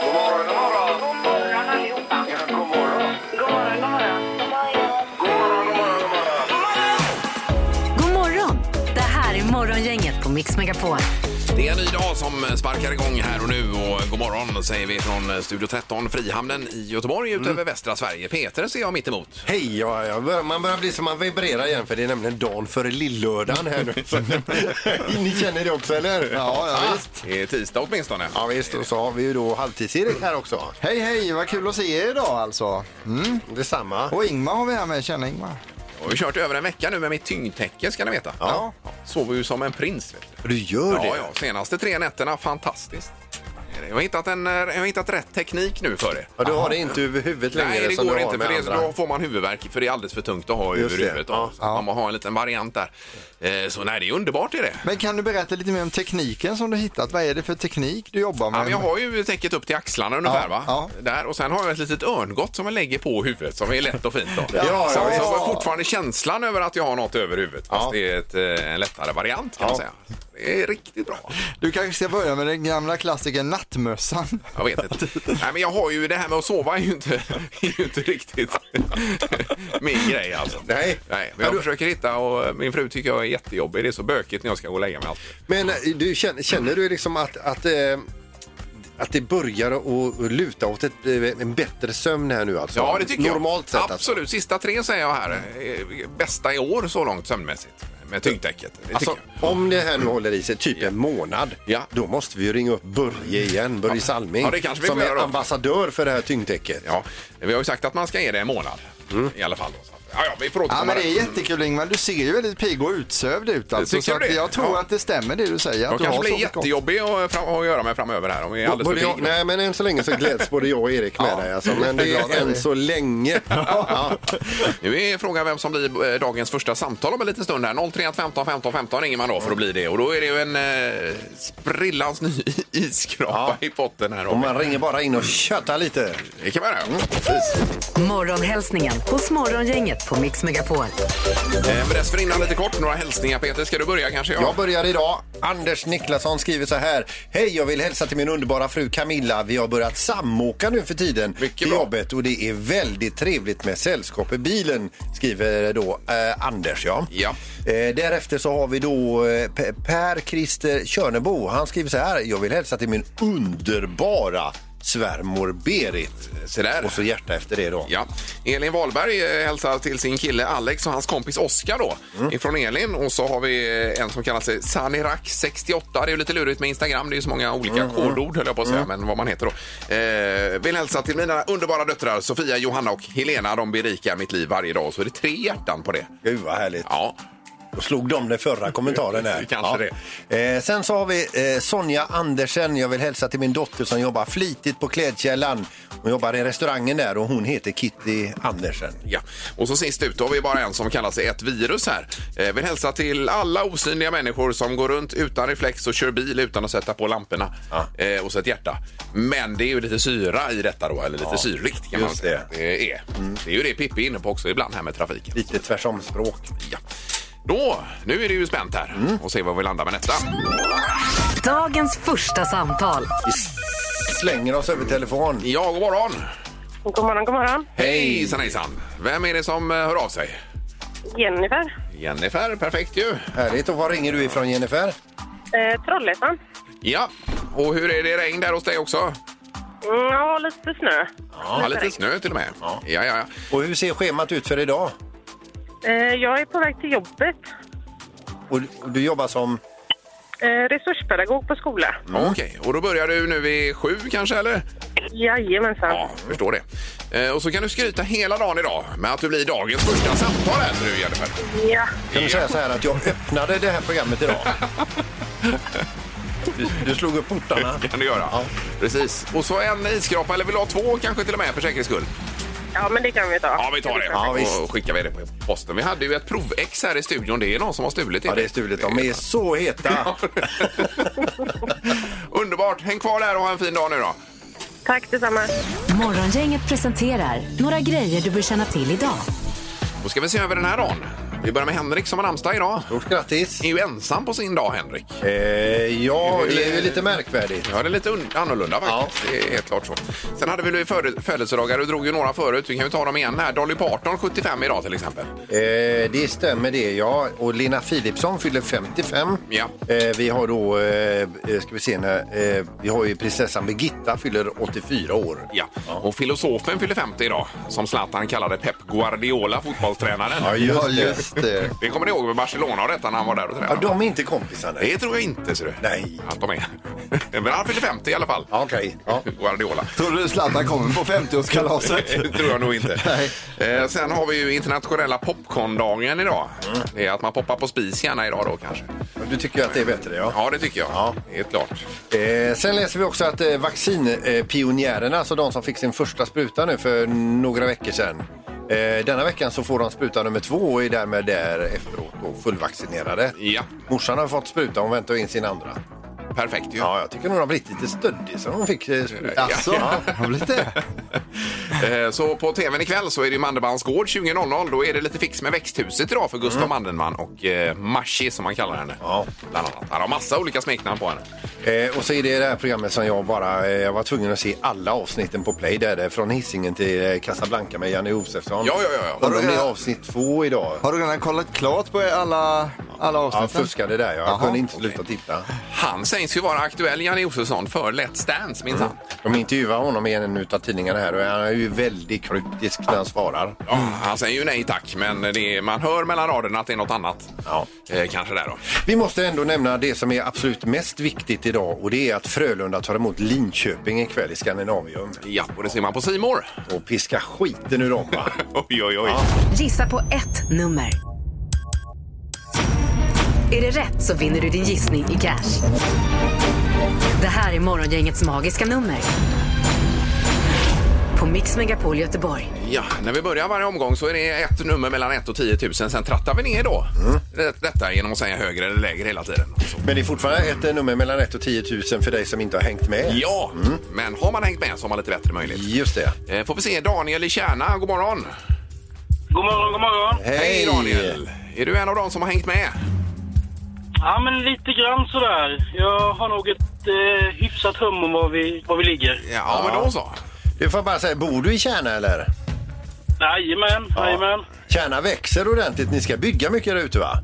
God morgon, god morgon. God morgon allihopa. Ja, god morgon. God morgon, god morgon. God morgon, god morgon, god morgon. God morgon! Det här är Morgongänget på Mix Megapol. Det är en ny dag som sparkar igång här och nu och god morgon säger vi från Studio 13, Frihamnen i Göteborg utöver västra Sverige. Peter ser jag mitt emot. Mm. Hej, ja, ja, bör- man börjar bli som man vibrerar igen för det är nämligen dagen före lillördagen här nu. Så- Ni känner det också eller? Ja, ja, visst. Det är tisdag åtminstone. Ja visst, och så har vi ju då halvtids-Erik här också. Hej, hej, vad kul att se er idag alltså. Mm. Detsamma. Och Ingmar har vi här med, tjena Ingmar. Jag har ju kört över en vecka nu med mitt tyngdtäcke ska ni veta. Ja. Sover ju som en prins. Vet du. Du gör Ja, det? ja, senaste tre nätterna, fantastiskt. Jag har hittat, en, eh, jag har hittat rätt teknik nu för det. Ja, du har det inte över huvudet längre Nej, det som går du har inte med för det, andra. då får man huvudvärk för det är alldeles för tungt att ha Just över det. huvudet. Ja. Så Man måste ha en liten variant där. Eh, Så nej, det är underbart är det. Men kan du berätta lite mer om tekniken som du hittat? Vad är det för teknik du jobbar med? Ja, men jag har ju täcket upp till axlarna ungefär. Ja, va? ja. Där, och sen har jag ett litet örngott som jag lägger på huvudet som är lätt och fint. Då. ja, så, visst. så har jag fortfarande känslan över att jag har något över huvudet. Fast Ja. det är ett, eh, en lättare variant kan man säga. Det är riktigt bra. Du kanske ska börja med den gamla klassikern nattmössan. Jag vet inte. Nej, men jag har ju det här med att sova är ju inte, är ju inte riktigt min grej alltså. Nej. Nej men jag försöker hitta och min fru tycker jag är jättejobbig. Det är så bökigt när jag ska gå och lägga mig alltid. Men eh, du, känner, känner du liksom att, att, eh, att det börjar att att luta åt ett, eh, en bättre sömn här nu alltså? Ja, det tycker Normalt jag. sett alltså? Absolut. Sista tre säger jag här. Eh, Bästa i år så långt sömnmässigt med tyngdtäcket. Det tycker Alltså, jag. om det här nu håller i sig typ en månad, Ja. då måste vi ju ringa upp Börje igen, Börje Salming, Ja, det kanske vi som får är göra då. ambassadör för det här tyngdtäcket. Ja, vi har ju sagt att man ska ge det en månad i alla fall. Då. Så att- Ja, ja, vi får återkomma. Ja, men det där. är jättekul Ingmar. Du ser ju väldigt pigg och utsövd ut alltså. Tycker Så du att det? jag tror Ja. att det stämmer det du säger. Att Jag du har kanske blir sovit gott. jättejobbig att, eh, fram, att göra med framöver här om vi är alldeles för Både jag, pigg. nej, men än så länge så gläds både jag och Erik med Ja. dig. Alltså, men det Jätteglada är är än vi. så länge. Ja. Nu är frågan vem som blir eh, dagens första samtal om en liten stund. här. 031 15 15 15 ringer man då för att bli det. Och då är det ju en eh, sprillans ny isskrapa i potten här. Om Robin. man ringer bara in och tjötar lite. Det kan man göra. Morgonhälsningen hos Morgongänget på Mix Megapol. Eh, Men dessförinnan lite kort, några hälsningar Peter. Ska du börja kanske? Jag börjar idag. Anders Niklasson skriver så här. Hej, jag vill hälsa till min underbara fru Camilla. Vi har börjat samåka nu för tiden Mycket till bra. jobbet och det är väldigt trevligt med sällskap i bilen, skriver då eh, Anders. Ja. Ja. Eh, därefter så har vi då eh, P- Per-Christer Körnebo. Han skriver så här. Jag vill hälsa till min underbara svärmor Berit. Se där. Och så hjärta efter det då. Ja. Elin Wahlberg eh, hälsar till sin kille Alex och hans kompis Oskar då, ifrån Elin. Och så har vi eh, en som kallar sig Sanirak68. Det är ju lite lurigt med Instagram, det är ju så många olika kodord höll jag på att säga, men vad man heter då. Eh, vill hälsa till mina underbara döttrar Sofia, Johanna och Helena. De berikar mitt liv varje dag. Så är det tre hjärtan på det. Gud vad härligt. Ja, Då slog de den förra kommentaren här. Kanske det. Eh, sen så har vi eh, Sonja Andersen. Jag vill hälsa till min dotter som jobbar flitigt på Klädkällan. Hon jobbar i restaurangen där och hon heter Kitty Andersen. Ja, och så sist ut då har vi bara en som kallar sig ett virus här. Eh, vill hälsa till alla osynliga människor som går runt utan reflex och kör bil utan att sätta på lamporna. Ja. Eh, och så ett hjärta. Men det är ju lite syra i detta då, eller lite syrligt kan man just Mm. säga. Det. Det, är. det är ju det Pippi är inne på också ibland här med trafiken. Lite tvärsom språk. Ja. Då, nu är det ju spänt här Mm. och se var vi landar med detta. Dagens första samtal. Vi slänger oss över telefon. Ja, god morgon! God morgon, god morgon. Hejsan hejsan! Vem är det som eh, hör av sig? Jennifer. Jennifer, perfekt ju! Härligt. Och var ringer du ifrån Jennifer? Eh, Trollhättan. Ja, och hur är det regn där hos dig också? Mm, ja, lite snö. Ja, lite snö till och med. Ja, ja, ja. Och hur ser schemat ut för idag? Eh, jag är på väg till jobbet. Och, och du jobbar som... Eh, resurspedagog på skola. Mm. Okej, och då börjar du nu vid sju kanske, eller? Jajamensan. Ja, Mm. förstår det. Eh, och så kan du skryta hela dagen idag med att du blir dagens första samtal här, nu Jennifer. Ja. Kan du säga så här att jag öppnade det här programmet idag? Du, du slog upp portarna. Kan du göra. Ja. Precis. Och så en isskrapa, eller vill du ha två kanske till och med för säkerhets skull? ja, men det kan vi ta. Ja, vi tar det. Ja, visst. och skickar vi det på posten. Vi hade ju ett provex här i studion. Det är någon som har stulit Ja, det är stulet. De är så heta. Underbart. Häng kvar där och ha en fin dag nu då. Tack detsamma. Morgongänget presenterar några grejer du bör känna till idag. Då ska vi se över den här dagen. Vi börjar med Henrik som har namnsdag idag. Stort grattis. Är ju ensam på sin dag, Henrik. Eh, ja, det är ju lite märkvärdigt. Ja, det är lite un- annorlunda faktiskt. Det är helt klart så. Sen hade vi ju före- födelsedagar, du drog ju några förut. Vi kan ju ta dem igen här. Dolly Parton 75 idag till exempel. Eh, det stämmer det, ja. Och Lena Philipsson fyller 55. Ja. Eh, vi har då, eh, eh, ska vi se när, eh, vi har ju prinsessan Birgitta fyller 84 år. Ja. Och filosofen fyller 50 idag, som Zlatan kallade Pep Guardiola, fotbollstränaren. Ja, Ja, just det. just det. Det kommer ni ihåg med Barcelona och detta när han var där och Ja, tränade? de är inte kompisar nej. Det tror jag inte, ser du. Nej. Att de är. Men han fyller 50 i alla fall. Ja, Okej. Ja. Guardiola. Tror du Zlatan kommer på 50-årskalaset? Det tror jag nog inte. Nej. Eh, sen har vi ju internationella popcorndagen idag. Mm. Det är att man poppar på spis gärna idag då kanske. Du tycker att det är bättre ja. Ja, det tycker jag. Ja. Det är klart. Eh, sen läser vi också att eh, vaccinpionjärerna, alltså de som fick sin första spruta nu för några veckor sedan. Eh, denna veckan så får de spruta nummer två och är därmed där efteråt och fullvaccinerade. Ja, Morsan har fått spruta, hon väntar in sin andra. perfekt ju. Ja, jag tycker hon har blivit lite stöddig sen hon fick eh, spruta. Jaså, har blivit det? Eh, Så på tvn ikväll så är det ju Mandelmans gård 20.00. Då är det lite fix med växthuset idag för Gustav Mandelmann och eh, Mashi som man kallar henne. Mm. Ja. Bland annat. Han har massa olika smeknamn på henne. Eh, och så är det det här programmet som jag bara, eh, jag var tvungen att se alla avsnitten på play. Där, det är från Hisingen till eh, Casablanca med Janne Josefsson. Ja, ja, ja, ja. Undrar om det är avsnitt två idag. Har du redan kollat klart på alla, alla Ja, jag avsnitt? fuskade där. Jag Jaha. kunde inte sluta titta. Han sägs ju vara aktuell, Janne Josefsson, för Let's Dance minsann. De intervjuar honom i en utav tidningarna här och han är ju väldigt kryptisk när han svarar. Ja, han säger ju nej tack, men det är, man hör mellan raderna att det är något annat. Ja. Eh, kanske där då. Vi måste ändå nämna det som är absolut mest viktigt idag och det är att Frölunda tar emot Linköping ikväll i Skandinavium Ja, och det ser man på Simor. och piskar skiten ur dem va. Oj, oj, oj. Gissa på ett nummer. Är det rätt så vinner du din gissning i cash. Det här är Morgongängets magiska nummer. På Mix Megapol Göteborg. Ja, när vi börjar varje omgång så är det ett nummer mellan 1 och 10 000. Sen trattar vi ner då. Mm. Det- Detta genom att säga högre eller lägre hela tiden. Så. Men det är fortfarande ett eh, nummer mellan 1 och 10 000 för dig som inte har hängt med. Ja, Mm. men har man hängt med så har man lite bättre möjlighet. Just det. Eh, Får vi se, Daniel i Kärna, god morgon. God morgon, god morgon. Hej, Daniel! Är du en av dem som har hängt med? Ja, men lite grann sådär. Jag har nog ett eh, hyfsat hum om var vi, var vi ligger. Ja, men då så. Du får bara säga, bor du i Kärna eller? Jajamän, jajamän. Kärna växer ordentligt. Ni ska bygga mycket där ute va?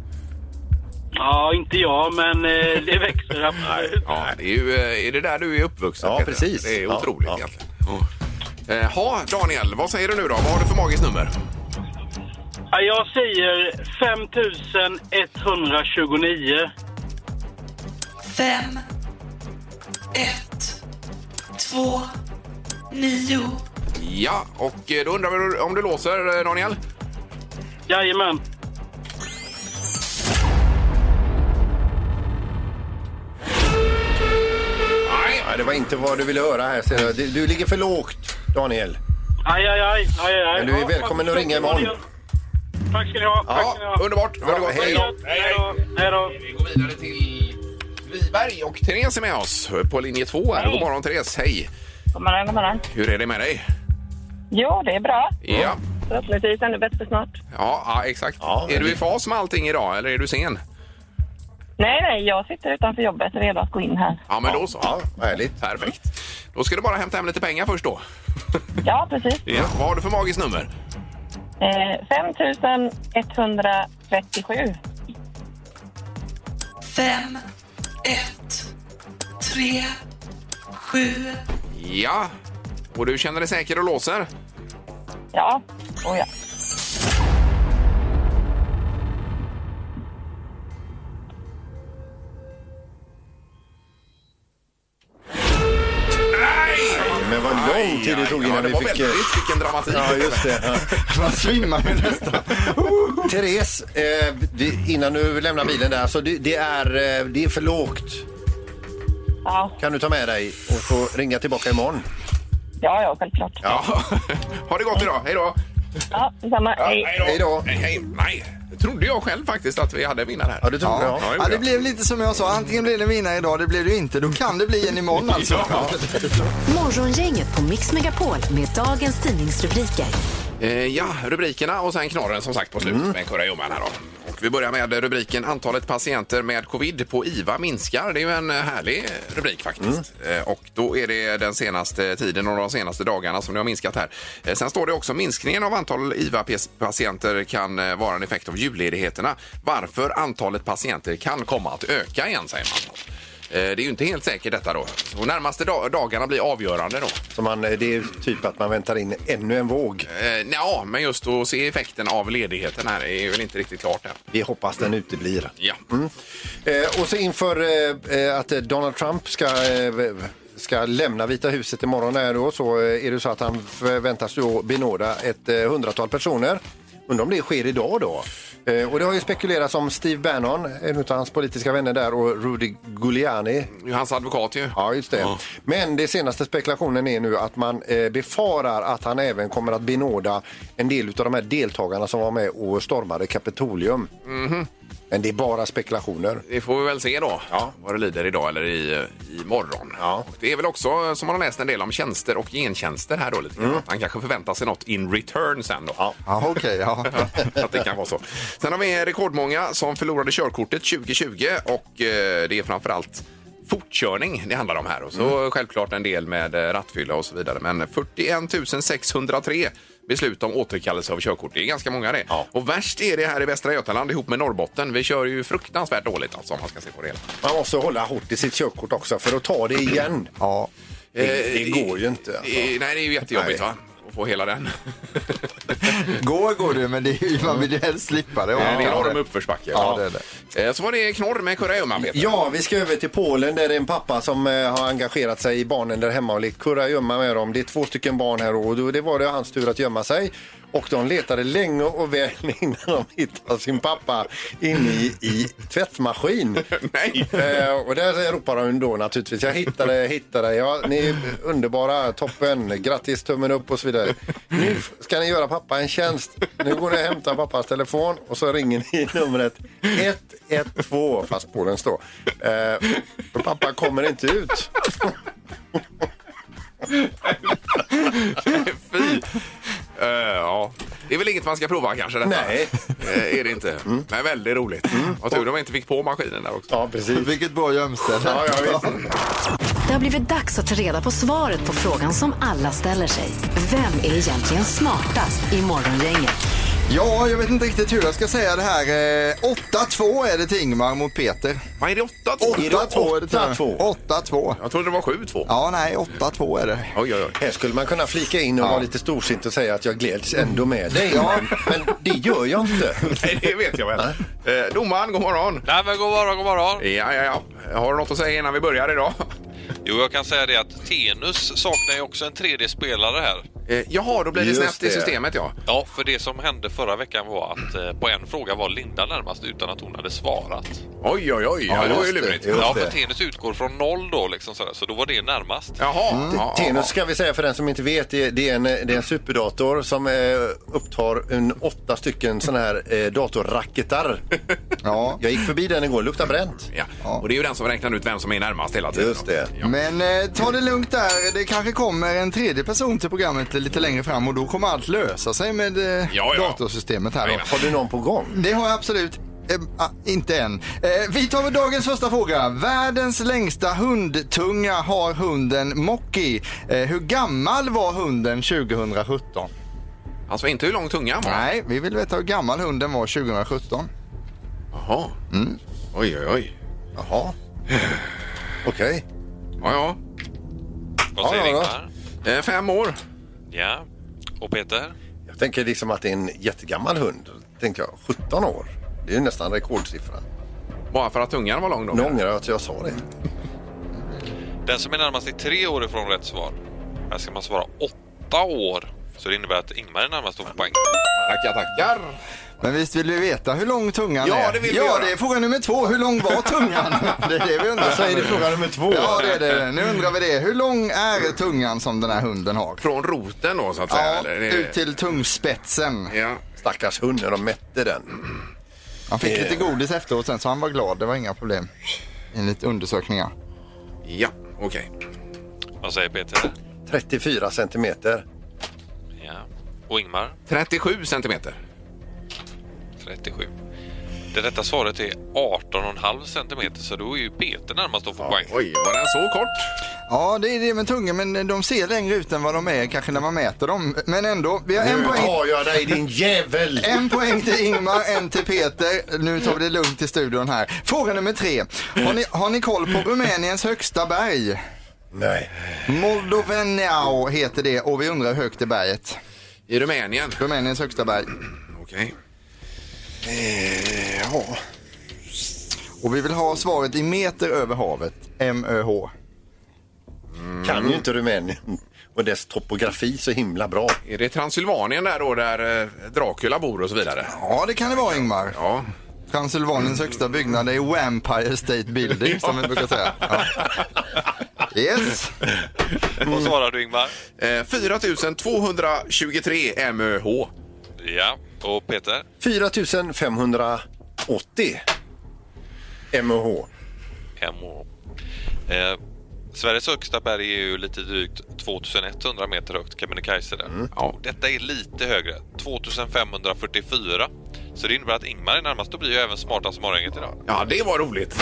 Ja, inte jag, men eh, det växer absolut. Ja, det är, ju, eh, är det där du är uppvuxen? Ja, Peter? precis. Det är Ja, otroligt ja. egentligen. Ja. Eh, Ha, Daniel, vad säger du nu då? Vad har du för magiskt nummer? Ja, jag säger 5129. Fem, ett, två, nio. Ja, och eh, då undrar vi om du låser, eh, Daniel? Jajamän. Nej. Ja, det var inte vad du ville höra här. ser jag. Du, du ligger för lågt Daniel. Aj, aj, aj. aj, aj. Men du är välkommen att ringa imorgon. Tack ska ni ha. Tack Ja, ska ni ha. underbart. Ha det gott. hej. Hej då. Hej då. Vi går vidare till Viberg och Therese är med oss på linje två. Här. God morgon, Therese. Hej! God morgon, god morgon. Hur är det med dig? Jo, det är bra. Ja. Förhoppningsvis ännu bättre snart. Ja, ja exakt. Ja, är du i fas med allting idag eller är du sen? Nej, nej, jag sitter utanför jobbet redo att gå in här. Ja, men då så. Ja, vad härligt. Perfekt. Då ska du bara hämta hem lite pengar först då. Ja, precis. Ja. Vad har du för magiskt nummer? Eh, 5137. Fem, ett, tre, sju. Ja. Och du känner dig säker och låser? Ja, oh ja. Men vad lång tid det tog Ja, innan det vi var fick... eh, väldigt vilken dramatik. Ja, just det. Man svimmar ju nästan. Therese, eh, vi- innan du lämnar bilen där, så det, det, är, eh, det är för lågt. Ja, Kan du ta med dig och få ringa tillbaka imorgon? ja, ja självklart. Ja, Ja. Ha det gott idag. Hej då. detsamma. Ja, Hej. Hej då. Hej, hej. Nej, det trodde jag själv faktiskt att vi hade en vinnare här. Ja, det tror jag. Ja, Ja, det blev lite som jag sa, antingen blir det en vinnare idag, det blir det ju inte. Då kan det bli en imorgon alltså. Ja. Morgongänget på Mix Megapol med dagens tidningsrubriker. Eh, ja, rubrikerna och sen knorren som sagt på slutet med en kurragömma här då. Och vi börjar med rubriken Antalet patienter med covid på IVA minskar. Det är ju en härlig rubrik faktiskt. Eh, Och då är det den senaste tiden och de senaste dagarna som det har minskat här. Eh, Sen står det också minskningen av antal IVA-patienter kan eh, vara en effekt av julledigheterna. Varför antalet patienter kan komma att öka igen säger man. Eh, Det är ju inte helt säkert detta då. Och närmaste dag- dagarna blir avgörande då. Som man, det är typ att man väntar in ännu en våg. Eh, Ja, men just att se effekten av ledigheten här är väl inte riktigt klart än. Mm. Vi hoppas den uteblir. Ja. Eh, och så inför eh, eh, att eh, Donald Trump ska, eh, v- ska lämna Vita huset imorgon här då, så eh, är det så att han förväntas då benåda ett eh, hundratal personer. Undrar om det sker idag då? Eh, och det har ju spekulerats om Steve Bannon, en av hans politiska vänner där, och Rudy Giuliani. Det är ju Hans advokat ju. Ja, just det. Men det senaste spekulationen är nu att man eh, befarar att han även kommer att benåda en del av de här deltagarna som var med och stormade Kapitolium. Men det är bara spekulationer. Det får vi väl se då, ja. vad det lider idag eller i, i morgon. Ja. Och det är väl också, som man har läst en del om, tjänster och gentjänster här då lite grann. Att Han kanske förväntar sig något in return sen då. Ja, okej. ja. att det kan vara så. Sen har vi rekordmånga som förlorade körkortet 2020 och eh, det är framförallt fortkörning det handlar om här och så Mm. självklart en del med eh, rattfylla och så vidare. Men 41 603 beslut om återkallelse av körkort. Det är ganska många det. Och värst är det här i Västra Götaland ihop med Norrbotten. Vi kör ju fruktansvärt dåligt alltså om man ska se på det. hela. Man måste hålla hårt i sitt körkort också för att ta det igen. ja. Det, det går ju inte. alltså. Eh, Nej, det är ju jättejobbigt Nej. va? Att få hela den. Gå går du, men det är, ju- man vill ju helst slippa det. det är en enorm uppförsbacke. Ja, det är Eh, Så var det knorr med kurragömman Peter. Ja, vi ska över till Polen där det är en pappa som eh, har engagerat sig i barnen där hemma och lekt kurragömma med dem. Det är två stycken barn här och då, det var det hans tur att gömma sig. Och de letade länge och väl innan de hittade sin pappa inne i, i tvättmaskin. Nej. Eh, och där ropar de då naturligtvis, jag hittade, jag hittade, ja ni är underbara, toppen, grattis, tummen upp och så vidare. Nu ska ni göra pappa en tjänst. Nu går ni och hämtar pappas telefon och så ringer ni numret 112, fast på den står. Eh, och pappa kommer inte ut. Fy! Eh, ja. Det är väl inget man ska prova kanske? Detta. Nej. Eh, är det inte. Men väldigt roligt. Vad tur de inte fick på maskinen där också. Ja, precis. Vilket bra gömställe. Ja, ja, visst. Det har blivit dags att ta reda på svaret på frågan som alla ställer sig. Vem är egentligen smartast i Morgongänget? Ja, jag vet inte riktigt hur jag ska säga det här. Eh, 8-2 är det till Ingmar mot Peter. Vad är det? 8 Oj. Är det 8-2 är det till 8-2? 8-2. Jag trodde det var 7-2. Ja, nej, 8-2 är det. Oj, oj, oj. Här skulle man kunna flika in och vara lite storsint och säga att jag gläds ändå med dig. Men det gör jag inte. Nej, det vet jag väl. Eh, domaren, god morgon. Nej men god morgon, god morgon. Ja, ja, ja. Har du något att säga innan vi börjar idag? Jo, jag kan säga det att Tenus saknar ju också en 3D-spelare här. Eh, jaha, då blir det Just snett i det. systemet ja. Ja, för det som hände förra veckan var att eh, på en fråga var Linda närmast utan att hon hade svarat. Oj, oj, oj. Ja, det var ju just det. lurigt. Just Ja, det. för Tenus utgår från noll då liksom sådär, så då var det närmast. Jaha. ja, ja, Mm. Tenus ska vi säga för den som inte vet, det är- det är en, det är en superdator som eh, upptar en åtta stycken sådana här eh, datorracketar. Ja. Jag gick förbi den igår, luktar bränt. ja. Och det är ju den som räknar ut vem som är närmast hela tiden. Just det. Men eh, ta det lugnt där. Det kanske kommer en tredje person till programmet lite längre fram och då kommer allt lösa sig med eh, ja. datorsystemet här. Då. Jajamän. Har du någon på gång? Det har jag absolut. Eh, ah, inte än. Eh, vi tar väl dagens första fråga. Världens längsta hundtunga har hunden Mocky. Eh, hur gammal var hunden 2017? Alltså inte hur lång tungan var. Nej, vi vill veta hur gammal hunden var 2017. Jaha. Oj, oj, oj. Jaha. Okej. Ja, Vad säger Ja, ja, ja. Ingmar? ja. Eh, fem år. Ja. Och Peter? Jag tänker liksom att det är en jättegammal hund. Tänker jag, 17 år. Det är ju nästan rekordsiffra. Bara för att tungan var lång då? Nu ångrar jag att jag sa det. Den som är närmast är tre år ifrån rätt svar. Här ska man svara åtta år. Så det innebär att Ingmar är närmast och får poäng. Tackar, tackar. Men visst vill vi veta hur lång tungan Ja, är? det vill vi ja, göra. det är fråga nummer två. Hur lång var tungan? det är det vi undrar. Så är det fråga nummer två. Ja, det är det. Nu undrar vi det. Hur lång är tungan som den här hunden har? Från roten då så att säga? Ja, eller? Det- ut till tungspetsen. Ja. Stackars hund när de mätte den. Han fick lite godis efteråt sen så han var glad. Det var inga problem. Enligt undersökningar. Ja, okej. Vad säger Peter? 34 centimeter. Ja. Och Ingmar? 37 centimeter. 37. Det rätta svaret är 18,5 centimeter så då är ju Peter närmast att få poäng. Oj, var den så kort? Ja, det är det med tungan, men de ser längre ut än vad de är kanske när man mäter dem. Men ändå, vi har en poäng. jag dig din jävel! En poäng till Ingmar, en till Peter. Nu tar vi det lugnt i studion här. Fråga nummer tre. Har ni, har ni koll på Rumäniens högsta berg? Nej. Moldovenau heter det och vi undrar hur högt är berget? I Rumänien. Rumäniens högsta berg. Okej. Och vi vill ha svaret i meter över havet. MÖH. Kan ju inte Rumänien och dess topografi så himla bra. Är det Transylvanien där då, där eh, Dracula bor och så vidare? Ja, det kan det vara Ingmar. Ja. Transylvaniens högsta byggnad är Vampire State Building som vi brukar säga. Ja. Yes. Vad svarar du Ingmar? Eh, 4223 MÖH. Ja, och Peter? 4580 MH. MH. Eh, Sveriges högsta berg är ju lite drygt 2100 meter högt, Kebnekaise där. Och Detta är lite högre, 2544. Så det innebär att Ingmar är närmast och blir ju även smartast i morgongänget idag. Ja, det var roligt.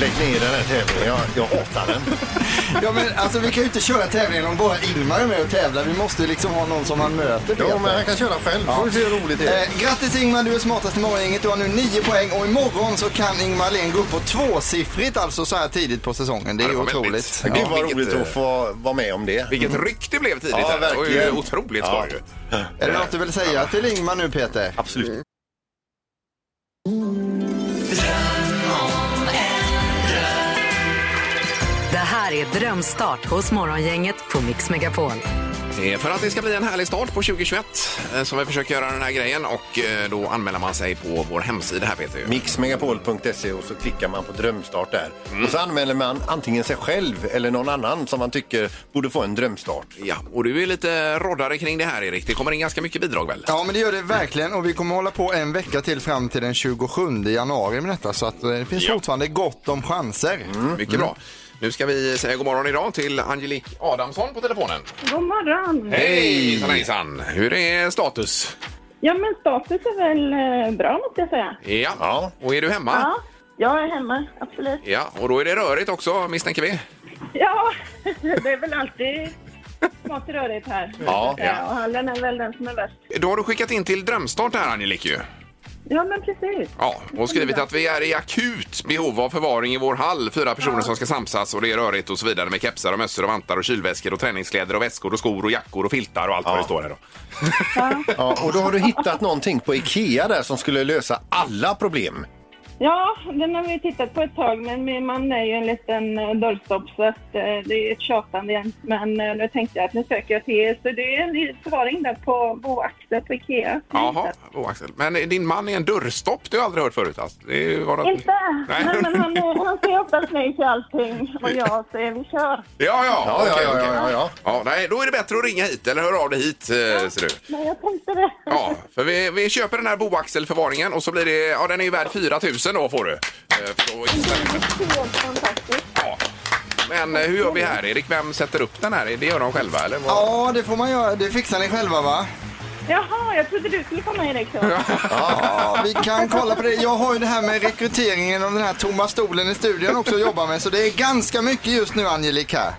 Lägg ner den här tävlingen. Jag, jag hatar den. Ja, men alltså vi kan ju inte köra tävlingen om bara Ingmar är med och tävlar. Vi måste ju liksom ha någon som han möter. Peter. Ja, men han kan köra själv. Får vi se hur roligt det är. Eh, grattis Ingmar, du är smartast i morgongänget. Du har nu 9 poäng och imorgon så kan Ingmar Len gå upp på tvåsiffrigt alltså så här tidigt på säsongen. Det är Ja, det var otroligt. väldigt. Ja. Gud vad vilket, roligt eh, att få vara med om det. Vilket ryck det blev tidigt. Ja, här. det var ju verkligen. otroligt Ja. Eh, skoj. ju. Är det något du vill säga till Ingmar nu Peter? Absolut. Det här är Drömstart hos Morgongänget på Mix Megapol. Det är För att det ska bli en härlig start på 2021 eh, som vi försöker göra den här grejen och eh, då anmäler man sig på vår hemsida här Peter. ju. mixmegapol.se och så klickar man på drömstart där. Och så anmäler man antingen sig själv eller någon annan som man tycker borde få en drömstart. Ja, och du är lite roddare kring det här Erik. Det kommer in ganska mycket bidrag väl? Ja men det gör det verkligen och vi kommer hålla på en vecka till fram till den 27 januari med detta så att eh, det finns fortfarande gott om chanser. Mycket bra. Nu ska vi säga god morgon idag till Angelique Adamsson på telefonen. God morgon! Hej! Hejsan, hejsan! Hur är status? Ja, men status är väl eh, bra måste jag säga. Ja. Ja. Och är du hemma? Ja, jag är hemma, absolut. Ja, och då är det rörigt också misstänker vi. Ja, det är väl alltid smått rörigt här. Ja, ja. Och hallen är väl den som är värst. Då har du skickat in till Drömstart här Angelique ju. Ja, men precis. Ja, och skrivit att vi är i akut behov av förvaring i vår hall. Fyra personer som ska samsas och det är rörigt och så vidare med kepsar och mössor och vantar och kylväskor och träningskläder och väskor och skor och jackor och filtar och allt vad det står här då. Ja, och då har du hittat någonting på Ikea där som skulle lösa alla problem. Ja, den har vi tittat på ett tag, men min man är ju en liten eh, dörrstopp så att, eh, det är ett tjatande igen. Men eh, nu tänkte jag att nu söker jag till er, så det är en liten förvaring där på Boaxel på Ikea. Jaha, oh, Axel. Men din man är en dörrstopp, det har jag aldrig hört förut. Alltså. Det var något... Inte? Nej. Nej, men han, är- han säger oftast nej till allting och jag säger vi kör. Ja, ja, Ja, ja, okej, ja, okej. ja, ja. Ja, nej, då är det bättre att ringa hit eller höra av dig hit, eh, ser du. Men jag tänkte det. Ja, för vi, vi köper den här boaxelförvaringen och så blir det, ja den är ju värd 4 000 då får du. Eh, för då Helt fantastiskt. ja. Men eh, hur gör vi här Erik? Vem sätter upp den här? Det gör de själva eller? Vad? Ja det får man göra, det fixar ni själva va? Jaha, jag trodde du skulle komma Erik. då. Ja, vi kan kolla på det. Jag har ju det här med rekryteringen av den här tomma stolen i studion också att jobba med så det är ganska mycket just nu Angelique här.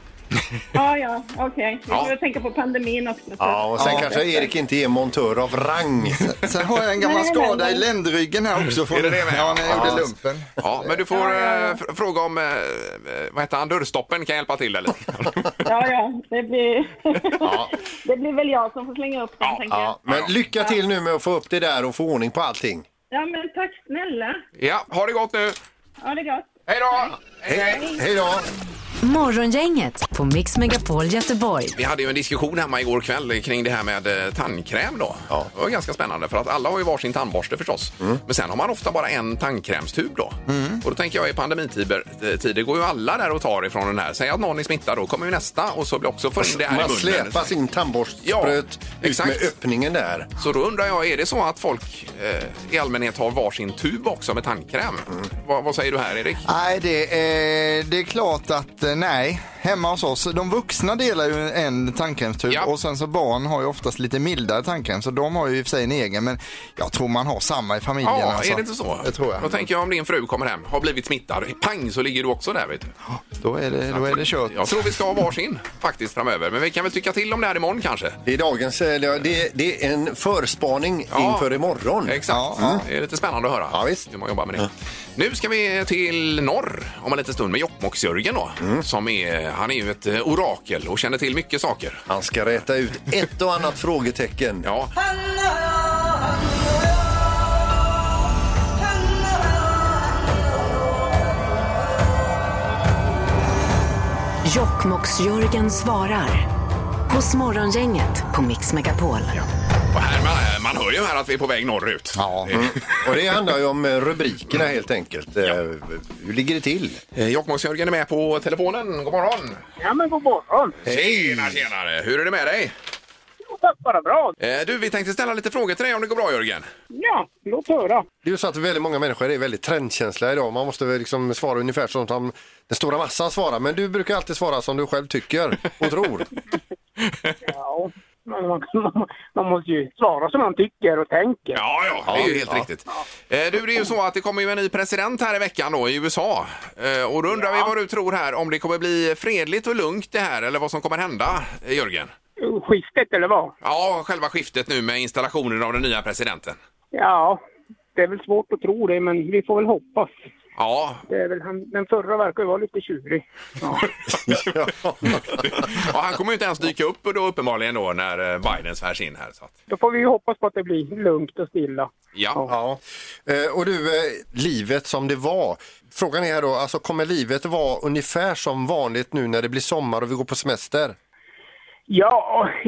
Ja, ja, okej. Vi Ja. får tänka på pandemin också. så- Ja, och sen Ja. kanske Erik inte är montör av rang. Sen har jag en gammal Nej, skada nej, nej. i ländryggen här också. Från, Är det det med? Ja, när jag Ja. gjorde lumpen. Ja, men du får eh, fr- fråga om, eh, eh, vad heter han, dörrstoppen kan hjälpa till eller? Ja, ja, det blir... det blir väl jag som får slänga upp den, tänker jag. Ja, men lycka till nu med att få upp det där och få ordning på allting. Ja, men tack snälla. ja, ha det gott nu! Ja, det är gott. Hej då! Hej, hej. Hej då! Morgongänget på Mix Megapol Göteborg. Vi hade ju en diskussion hemma igår kväll kring det här med eh, tandkräm då. Ja. Det var ganska spännande för att alla har ju varsin tandborste förstås. Men sen har man ofta bara en tandkrämstub då. Och då tänker jag i pandemitider eh, tider går ju alla där och tar ifrån den här. Säg att någon är smittad då kommer ju nästa och så blir också för in det här Man i munnen. släpar sin tandborstspröt Ja, ut exakt. med öppningen där. Så då undrar jag, är det så att folk eh, i allmänhet har varsin tub också med Mm. tandkräm? Vad, vad säger du här Erik? Nej, det, eh, det är klart att eh, nej. Hemma hos oss, de vuxna delar ju en tandkrämstub Ja. och sen så barn har ju oftast lite mildare tandkräm så de har ju i och för sig en egen men jag tror man har samma i familjen. Ja, alltså. är det inte så? Det tror jag. Då tänker jag om din fru kommer hem, har blivit smittad, pang så ligger du också där vet du. Då är det, då är det kört. Jag tror vi ska ha varsin faktiskt framöver. Men vi kan väl tycka till om det här imorgon kanske? Det är dagens, eh, det det- det är en förspaning Ja. inför imorgon. Exakt. Ja. Det är lite spännande att höra Ja, visst. hur man jobbar med det. Nu ska vi till norr om en liten stund med Jokkmokks-Jörgen då. Mm. Som är, han är ju ett eh, orakel och känner till mycket saker. Han ska räta ut ett och annat frågetecken. Ja, Jokkmokks-Jörgen svarar. Hos Morgongänget på Mix Megapol. och här, man, eh, man hör ju här att vi är på väg norrut. Ja. Eh, Och det handlar ju om eh, rubrikerna helt enkelt. Eh, Hur ligger det till? eh, Jokkmokks-Jörgen är med på telefonen. God morgon! Ja, men god morgon. Tjena, tjenare! Hur är det med dig? Jo, tack bara bra. Eh, Du, vi tänkte ställa lite frågor till dig om det går bra Jörgen. Ja, låt höra. Det är ju så att väldigt många människor är väldigt trendkänsliga idag. Man måste väl liksom svara ungefär som de- den stora massan svarar. Men du brukar alltid svara som du själv tycker och tror. Ja, men man, man måste ju svara som man tycker och tänker. Ja, ja, det är ju helt riktigt. Eh, Du, det är ju så att det kommer ju en ny president här i veckan då i USA. Eh, Och då undrar vi vad du tror här, om det kommer bli fredligt och lugnt det här eller vad som kommer hända, eh, Jörgen? Skiftet eller vad? Ja, själva skiftet nu med installationen av den nya presidenten. Ja, det är väl svårt att tro det, men vi får väl hoppas. Ja, Det är väl han, den förra verkar ju vara lite tjurig. Ja. och han kommer ju inte ens dyka upp då uppenbarligen då när eh, Biden svärs in här. Så att, Då får vi ju hoppas på att det blir lugnt och stilla. ja. Ja. Eh, Och du, eh, livet som det var. Frågan är här då, alltså kommer livet vara ungefär som vanligt nu när det blir sommar och vi går på semester? Ja,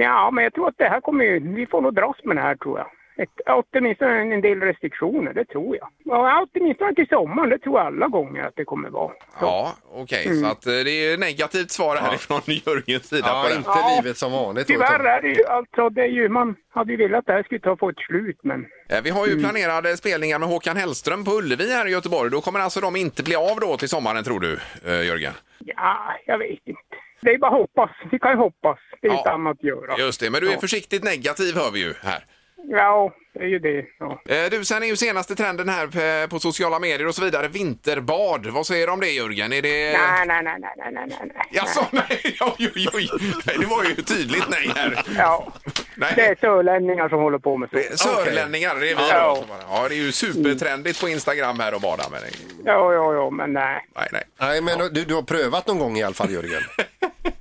ja men jag tror att det här kommer ju, vi får nog dras med det här tror jag. Ett, åtminstone en del restriktioner, det tror jag. Ja, åtminstone till sommaren, det tror jag alla gånger att det kommer vara. Ja, okej, så att eh, det är negativt svar härifrån Jörgens sida på Ja, det. inte livet som vanligt. då, Tyvärr utan- är det ju, alltså det är ju, man hade ju velat att det här skulle ta få ett slut men Eh, Vi har Mm. ju planerade spelningar med Håkan Hellström på Ullevi här i Göteborg. Då kommer alltså de inte bli av då till sommaren tror du, eh, Jörgen? ja, jag vet inte. Det är bara att hoppas, vi kan ju hoppas. Det är ju Ja. inte annat att göra. Just det, men du är Ja. försiktigt negativ hör vi ju här. Ja, det är ju det. Ja. Eh, Du, sen är ju senaste trenden här eh, på sociala medier och så vidare vinterbad. Vad säger du om det Jörgen? Är det... Nej, nej, nej, nej, nej, nej, nej, nej. Jaså, nej, oj, oj, oj. Nej, det var ju ett tydligt nej här. Ja, Nej. det är sörlänningar som håller på med så. Sörlänningar, det är vi Ja. då. Ja, det är ju supertrendigt på Instagram här och bada. Men Ja, ja, ja, men nej. nej, nej. Nej, men eh, du, du har prövat någon gång i alla fall, Jörgen.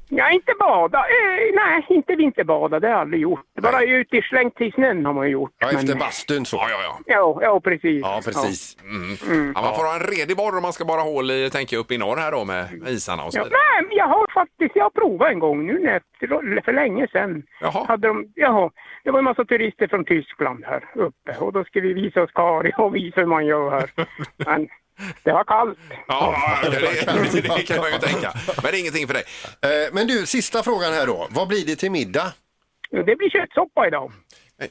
Ja, inte bada. Eh, nej, inte vinterbada. Det har jag aldrig gjort. Bara ut i slängt i snön har man ju gjort. Ja, men- efter bastun så. Ja, ja, ja. Ja, ja, Mm. precis. Ja, precis. Mm. ja. Man får ha en redig borr om man ska bara hål i, tänker jag, uppe i norr här då med med isarna och så Ja, vidare. nej, men jag har faktiskt, jag har provat en gång nu när, för, för länge sedan. Jaha. Hade de, jaha, det var en massa turister från Tyskland här uppe och då skulle vi visa oss Kari och visa hur man gör här. Men det var kallt. Ja, det, det, det kan man ju tänka. Men det är ingenting för dig. Eh, Men du, sista frågan här då. Vad blir det till middag? Det blir köttsoppa idag.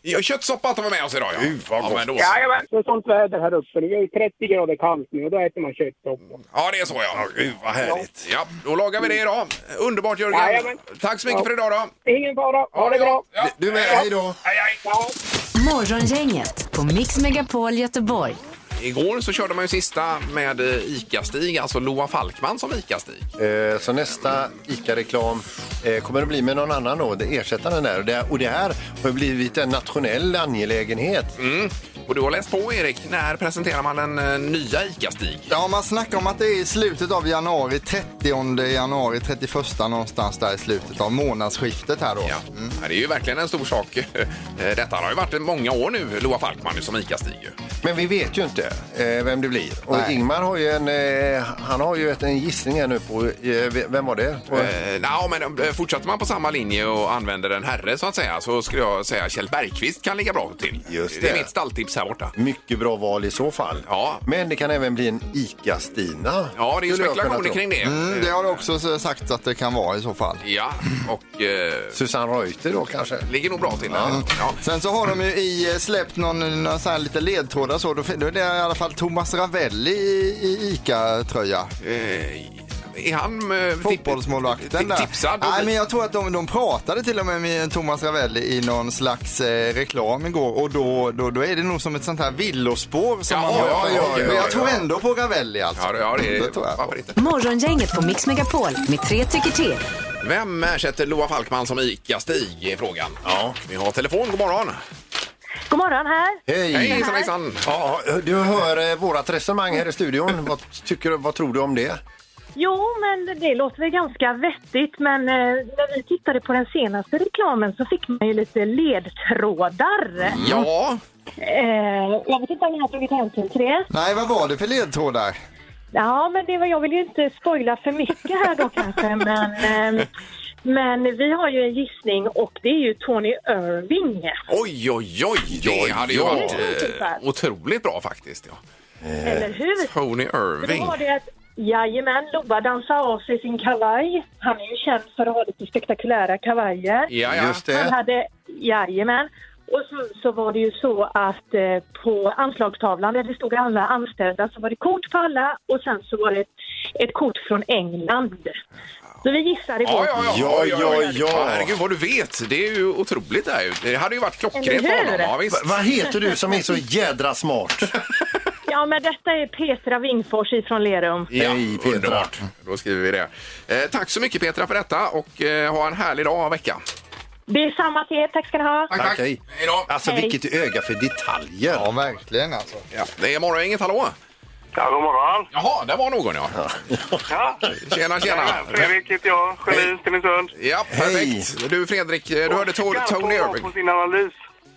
Ja, Köttsoppa tar vi med oss idag. Ja. Gud, vad ja, gott. men då, så. Jajamän. Det är sånt väder här uppe. Det är ju 30 grader kallt nu och då äter man köttsoppa. ja, det är så ja. Gud, vad härligt. Ja, då lagar vi det idag. Underbart Jörgen. Jajamän. Tack så mycket Ja. för idag då. Ingen fara. Ha det bra. Ja. Du med, hej då. Hej, hej. Morgongänget på Mix Megapol Göteborg. Igår så körde man ju sista med eh, ICA-Stig, alltså Loa Falkman som ICA-Stig. Eh, Så nästa ICA-reklam eh, kommer det bli med någon annan då, det ersätta den där. Och det, och det här har ju blivit en nationell angelägenhet. Och du har läst på Erik, när presenterar man den eh, nya ICA-Stig? Ja, man snackar om att det är i slutet av januari, 30 januari, 31 någonstans där i slutet av månadsskiftet här då. Ja. Mm. ja, det är ju verkligen en stor sak. Eh, Detta har ju varit i många år nu, Loa Falkman nu som ICA-Stig. ju. Men vi vet ju inte eh, vem det blir. Och Nej. Ingmar har ju en, eh, han har ju ett, en gissning här nu på, eh, vem var det? På, Eh, nja, men eh, fortsätter man på samma linje och använder en herre så att säga så skulle jag säga Kjell Bergqvist kan ligga bra till. Just det är det. mitt stalltips här borta. Mycket bra val i så fall. Ja. Men det kan även bli en ICA-Stina. Ja, det är ju Skulle jag kunna spekulationer tro. kring det. Mm, det har det också så sagt att det kan vara i så fall. Ja, och eh, Susanne Reuter då kanske? ligger nog bra till. där. Ja. Sen så har de ju i, eh, släppt någon, någon så här lite ledtrådar så. Då, fin- då är det i alla fall Thomas Ravelli i, i ICA-tröja. Eh, Är han eh, Fotbollsmålvakten tip- där. tipsad? Nej, men jag tror att de, de pratade till och med med Thomas Ravelli i någon slags eh, reklam igår och då, då, då är det nog som ett sånt här villospår som Ja, man hör. ja, ja, ja, men jag ja. tror ändå på Ravelli alltså. Ja, det- ja, det Det tror jag. varför inte? Morgongänget på Mix Megapol med tre tycker till. Vem ersätter Loa Falkman som ICA-Stig i frågan? Ja. Vi har telefon, god morgon. God morgon här. Hej! Hej, hejsan, hejsan. Ja, du hör eh, vårat resonemang här i studion. Vad, tycker, vad tror du om det? Jo, men det låter väl ganska vettigt. Men eh, när vi tittade på den senaste reklamen så fick man ju lite ledtrådar. Ja, Eh, jag vet inte om ni har tagit hänsyn till det. Nej, vad var det för ledtrådar? Ja, men det var, jag vill ju inte spoila för mycket här då kanske. Men, eh, men vi har ju en gissning och det är ju Tony Irving. oj, oj, oj. Det Oj, hade ju ja. varit Det är tippat. eh, otroligt bra faktiskt. Ja. Eller hur? Tony För då Eh, Irving. var det att Jajamän, Lobba dansar av sig sin kavaj. Han är ju känd för att ha lite spektakulära kavajer. Ja, ja. Just Han det. hade, jajamän. Och så, så var det ju så att eh, på anslagstavlan där det stod alla anställda så var det kort på alla och sen så var det ett, ett kort från England. Så vi gissar i Ja, vår. ja, ja. Ja, Oj, oj, oj. ja, ja. Herregud, vad du vet. Det är ju otroligt. Det, här. ju. det hade ju varit klockrent Eller på hur? honom. Ja, visst. Va- Vad heter du som är så jädra smart? ja, men detta är Petra Wingfors ifrån Lerum. Ja, Hej, Petra. underbart. Då skriver vi det. Eh, tack så mycket, Petra, för detta. Och eh, ha en härlig dag och vecka. Det är samma till er, tack ska ni ha. Tack, hej. Hej då. Alltså Hej. vilket öga för detaljer. Ja, verkligen alltså. Ja, det är morgon, inget hallå? Ja, god morgon. Jaha, där var någon, ja. Ja. Tjena, tjena. Fredrik heter jag, Hej. geni Stenungsund. Ja, perfekt. Du, Fredrik, eh, du hörde to- Skarp Tony hon var på Irving. sin analys.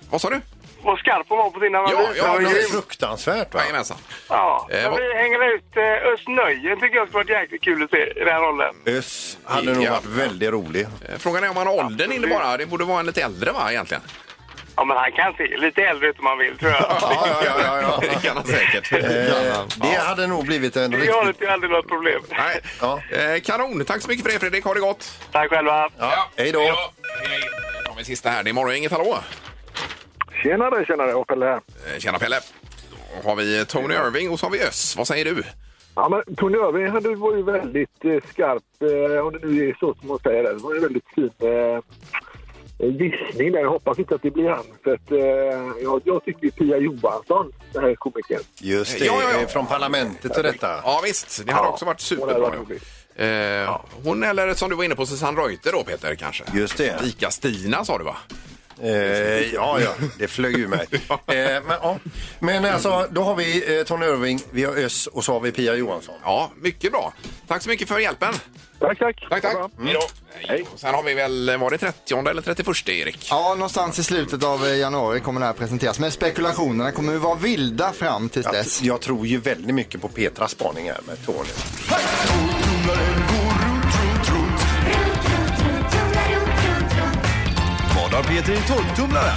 Vad sa du? Vad skarp hon var på sin analys. Ja, ja, Det var Det men- är grymt. fruktansvärt va? Jajamensan. ja. Eh, Men vad- vi hänger ut eh, Özz Nöjen tycker jag skulle varit jäkligt kul att se i den här rollen. Mm. Öss hade nog Ja. varit väldigt rolig. Eh, Frågan är om han har åldern inne bara. Det borde vara en lite äldre, va, egentligen? Ja, men han kan se lite äldre ut om han vill tror jag. Ja, ja, ja, ja, ja. Det kan han säkert. Eh, det hade nog blivit en Vi har riktig... inte aldrig något problem. Nej. Ja. Eh, Kanon. Tack så mycket för det, Fredrik. Ha det gott. Tack själva. Ja, hej då. Hej. Då har vi sista här. Det är morgon, inget hallå. Tjenare, tjenare, Pelle här. Eh, Tjena Pelle. Då har vi Tony Irving och så har vi Öss. Vad säger du? Ja, men Tony Irving han, du var ju väldigt eh, skarp, eh, om det nu är så som hon säger. Det Det var ju en väldigt fin eh, gissning där. Jag hoppas inte att det blir han. För att, eh, jag, jag tycker det är Pia Johansson, den här komikern. Just det, Ja, ja, ja. eh, från parlamentet och detta. Ja visst, det har också varit hon superbra. hade varit Eh, Hon eller som du var inne på, Susanne Reuter då Peter kanske? Just det. Ica-Stina sa du va? Eh, ja, ja, det flög ur mig. Eh, men, ja. men alltså, då har vi eh, Tony Irving, vi har Öss och så har vi Pia Johansson. Ja, mycket bra. Tack så mycket för hjälpen. Tack, tack. Tack, tack. Ha det bra. Hej då. Hej. Och Sen har vi väl, var det 30 eller 31 Erik? Ja, någonstans i slutet av eh, januari kommer det här presenteras. Men spekulationerna kommer ju vara vilda fram tills Jag, dess. jag tror ju väldigt mycket på Petras spaning här med Tony. Vad har Peter i tolvtumlaren?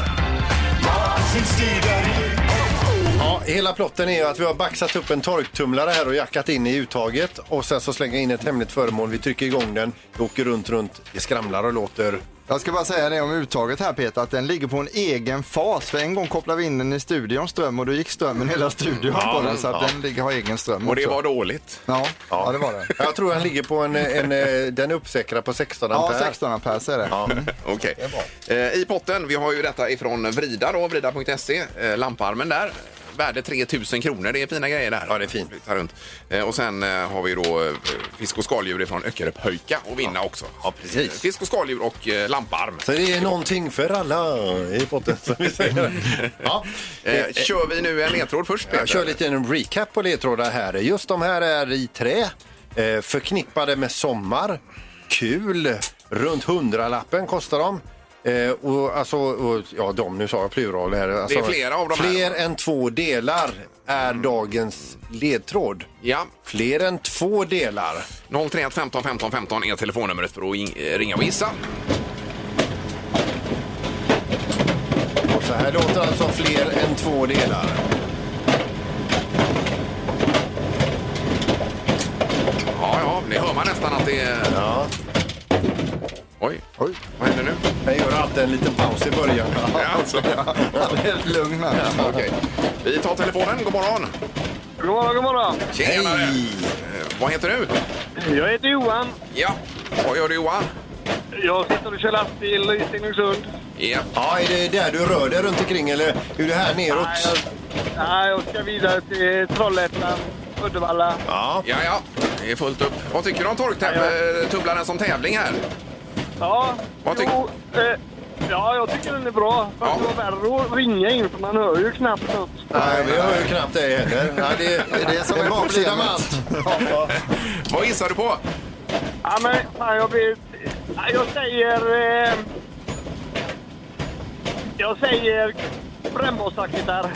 Ja, hela plotten är ju att vi har baxat upp en torktumlare här och jackat in i uttaget och sen så slänger jag in ett hemligt föremål. Vi trycker igång den, vi åker runt, runt, det skramlar och låter. Jag ska bara säga det om uttaget här Peter, att den ligger på en egen fas. För en gång kopplade vi in den i studions ström och då gick strömmen hela studion på den. Så att den ligger, har egen ström Och det också. var dåligt. Ja, ja. det var det. Jag tror han ligger på en, en eh, den är uppsäkrad på 16 Ja, ampere. 16 ampere är det. Ja. Okej. Eh, I potten, vi har ju detta ifrån Vrida då, vrida.se, eh, lamparmen där. Värde 3 000 kronor, det är fina grejer där. Ja, det är fint. Flyttar runt. Eh, och sen eh, har vi då eh, fisk och skaldjur ifrån Öckeröpöjka och vinna också. Ja, precis. Eh, Fisk och skaldjur och eh, lamparm. Så det är någonting för alla i potten som vi säger. Ja. Eh, kör vi nu en ledtråd först Peter? Jag kör lite en recap på ledtrådar här. Just de här är i trä, eh, förknippade med sommar, kul, runt hundralappen kostar de. Eh, och alltså, och, ja de, nu sa jag plural här. Alltså, flera av de här. Mm. Fler än två delar är dagens ledtråd. Ja, Fler än två delar. 031 15 15 15 är telefonnumret för att in- eh, ringa och gissa. Och så här låter alltså fler än två delar. Ja, ja, det hör man nästan att det är... Ja, Oj, Oj. vad händer nu? jag gör alltid en liten paus i början. Ja, alltså. Han är helt lugn här. Okej. Vi tar telefonen, god morgon! God morgon, god morgon. Tjenare! Eh, Vad heter du? Jag heter Johan. Ja, vad gör du Johan? Jag sitter och kör lastbil i Stenungsund. Ja. Ja, är det där du rör dig runt omkring eller hur det här neråt? Nej, jag ska vidare till Trollhättan, Uddevalla. Ja. ja, det är fullt upp. Vad tycker du om torktubblaren som tävling här? Ja, Vad tyck- jo, eh, ja, jag tycker den är bra. Fast det var värre att ringa in för man hör ju knappt något. Nej, vi hör ju knappt dig heller. Nej, det, Det är det som det är baksidan med Vad gissar du på? Ja, men fan, jag blir... Ja, Jag säger... Eh, jag säger brännbollsraketar.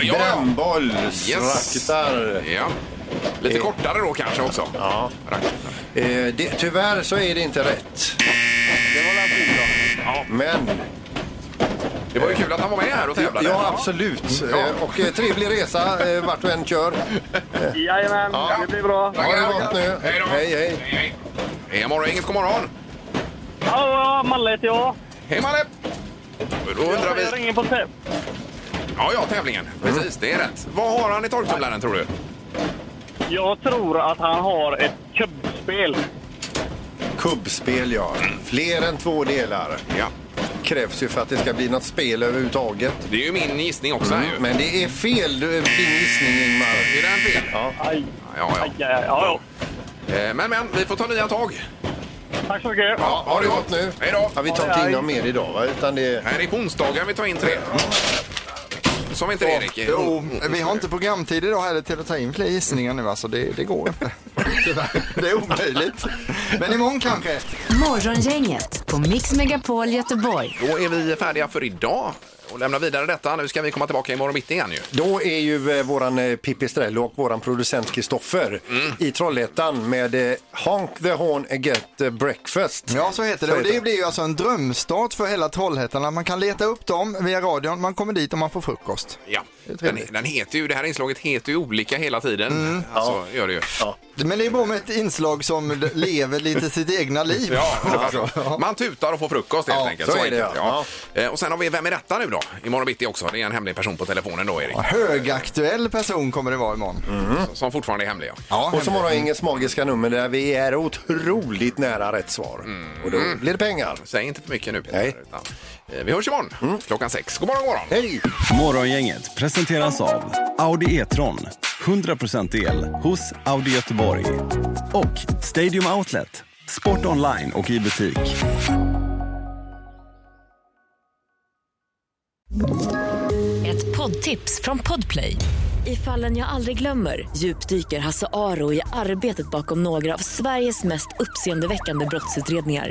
Ja, Brännbollsraketar. Ja. Lite kortare då kanske också. Eh. Ja. Eh, det, tyvärr så är det inte rätt. Ja. Men... Det var ju kul att han var med här och tävlade. Ja, absolut. Eh, Och eh, trevlig resa eh, vart du än kör. Jajamän, det blir bra. Ha det gott nu. Hej då. Hej, hej. Hej, morgon, inget god morgon. Ja, Malle heter jag. Hej Malle! Då undrar Jag vi... ringer på täv. Ja, ja, tävlingen. Mm. Precis, det är rätt. Vad har han i torktumlaren tror du? Jag tror att han har ett kubbspel. Kubbspel, ja. Fler än två delar. Ja. Krävs ju för att det ska bli något spel överhuvudtaget. Det är ju min gissning också. här ju. Men det är fel, du- din gissning Ingmar. Är den fel? Ja. Aj. Ja, ja. Eh, Men, men, vi får ta nya tag. Tack så mycket. Ja, ha det gott nu. Hej då. Ja, vi tar inte in någon mer idag va? Utan det... Nej, det är på onsdagen vi tar in tre. Som inte Erik. Jo, vi har inte programtid idag heller till att ta in fler gissningar nu alltså. Det, det går inte. Tyvärr. Det är omöjligt. Men imorgon kanske. Morgongänget på Mix Megapol Göteborg. Då är vi färdiga för idag och lämnar vidare detta. Nu ska vi komma tillbaka imorgon bitti igen ju. Då är ju eh, våran eh, Pippi Strello och våran producent Kristoffer i Trollhättan med eh, Honk the Horn and Get eh, Breakfast. Ja, så heter det. Och det blir ju alltså en drömstart för hela Trollhättan. Man kan leta upp dem via radion. Man kommer dit och man får frukost. Ja, Det är den, trevligt. den heter ju, det här inslaget heter ju olika hela tiden. Mm. Alltså, gör det ju. Men det är bra med ett inslag som lever lite sitt egna liv. Ja, alltså, man tutar och får frukost helt Ja, enkelt. så är det, enkelt, ja. Eh, Och sen har vi Vem är detta nu då? Imorgon bitti också. Det är en hemlig person på telefonen då, Erik. Ja, Högaktuell person kommer det vara imorgon. Som fortfarande är hemlig. Ja. Ja, Mm. Och så hemligt. Morgongängets magiska nummer där vi är otroligt nära rätt svar. Och då blir det pengar. Säg inte för mycket nu, Peter. Nej. Utan, eh, vi hörs imorgon klockan sex. God morgon, god morgon! Hej! Morgongänget presenteras av Audi E-tron. 100% el hos Audi Göteborg. Och Stadium Outlet. Sport online och i butik. Ett poddtips från Podplay. I fallen jag aldrig glömmer djupdyker Hasse Aro i arbetet bakom några av Sveriges mest uppseendeväckande brottsutredningar.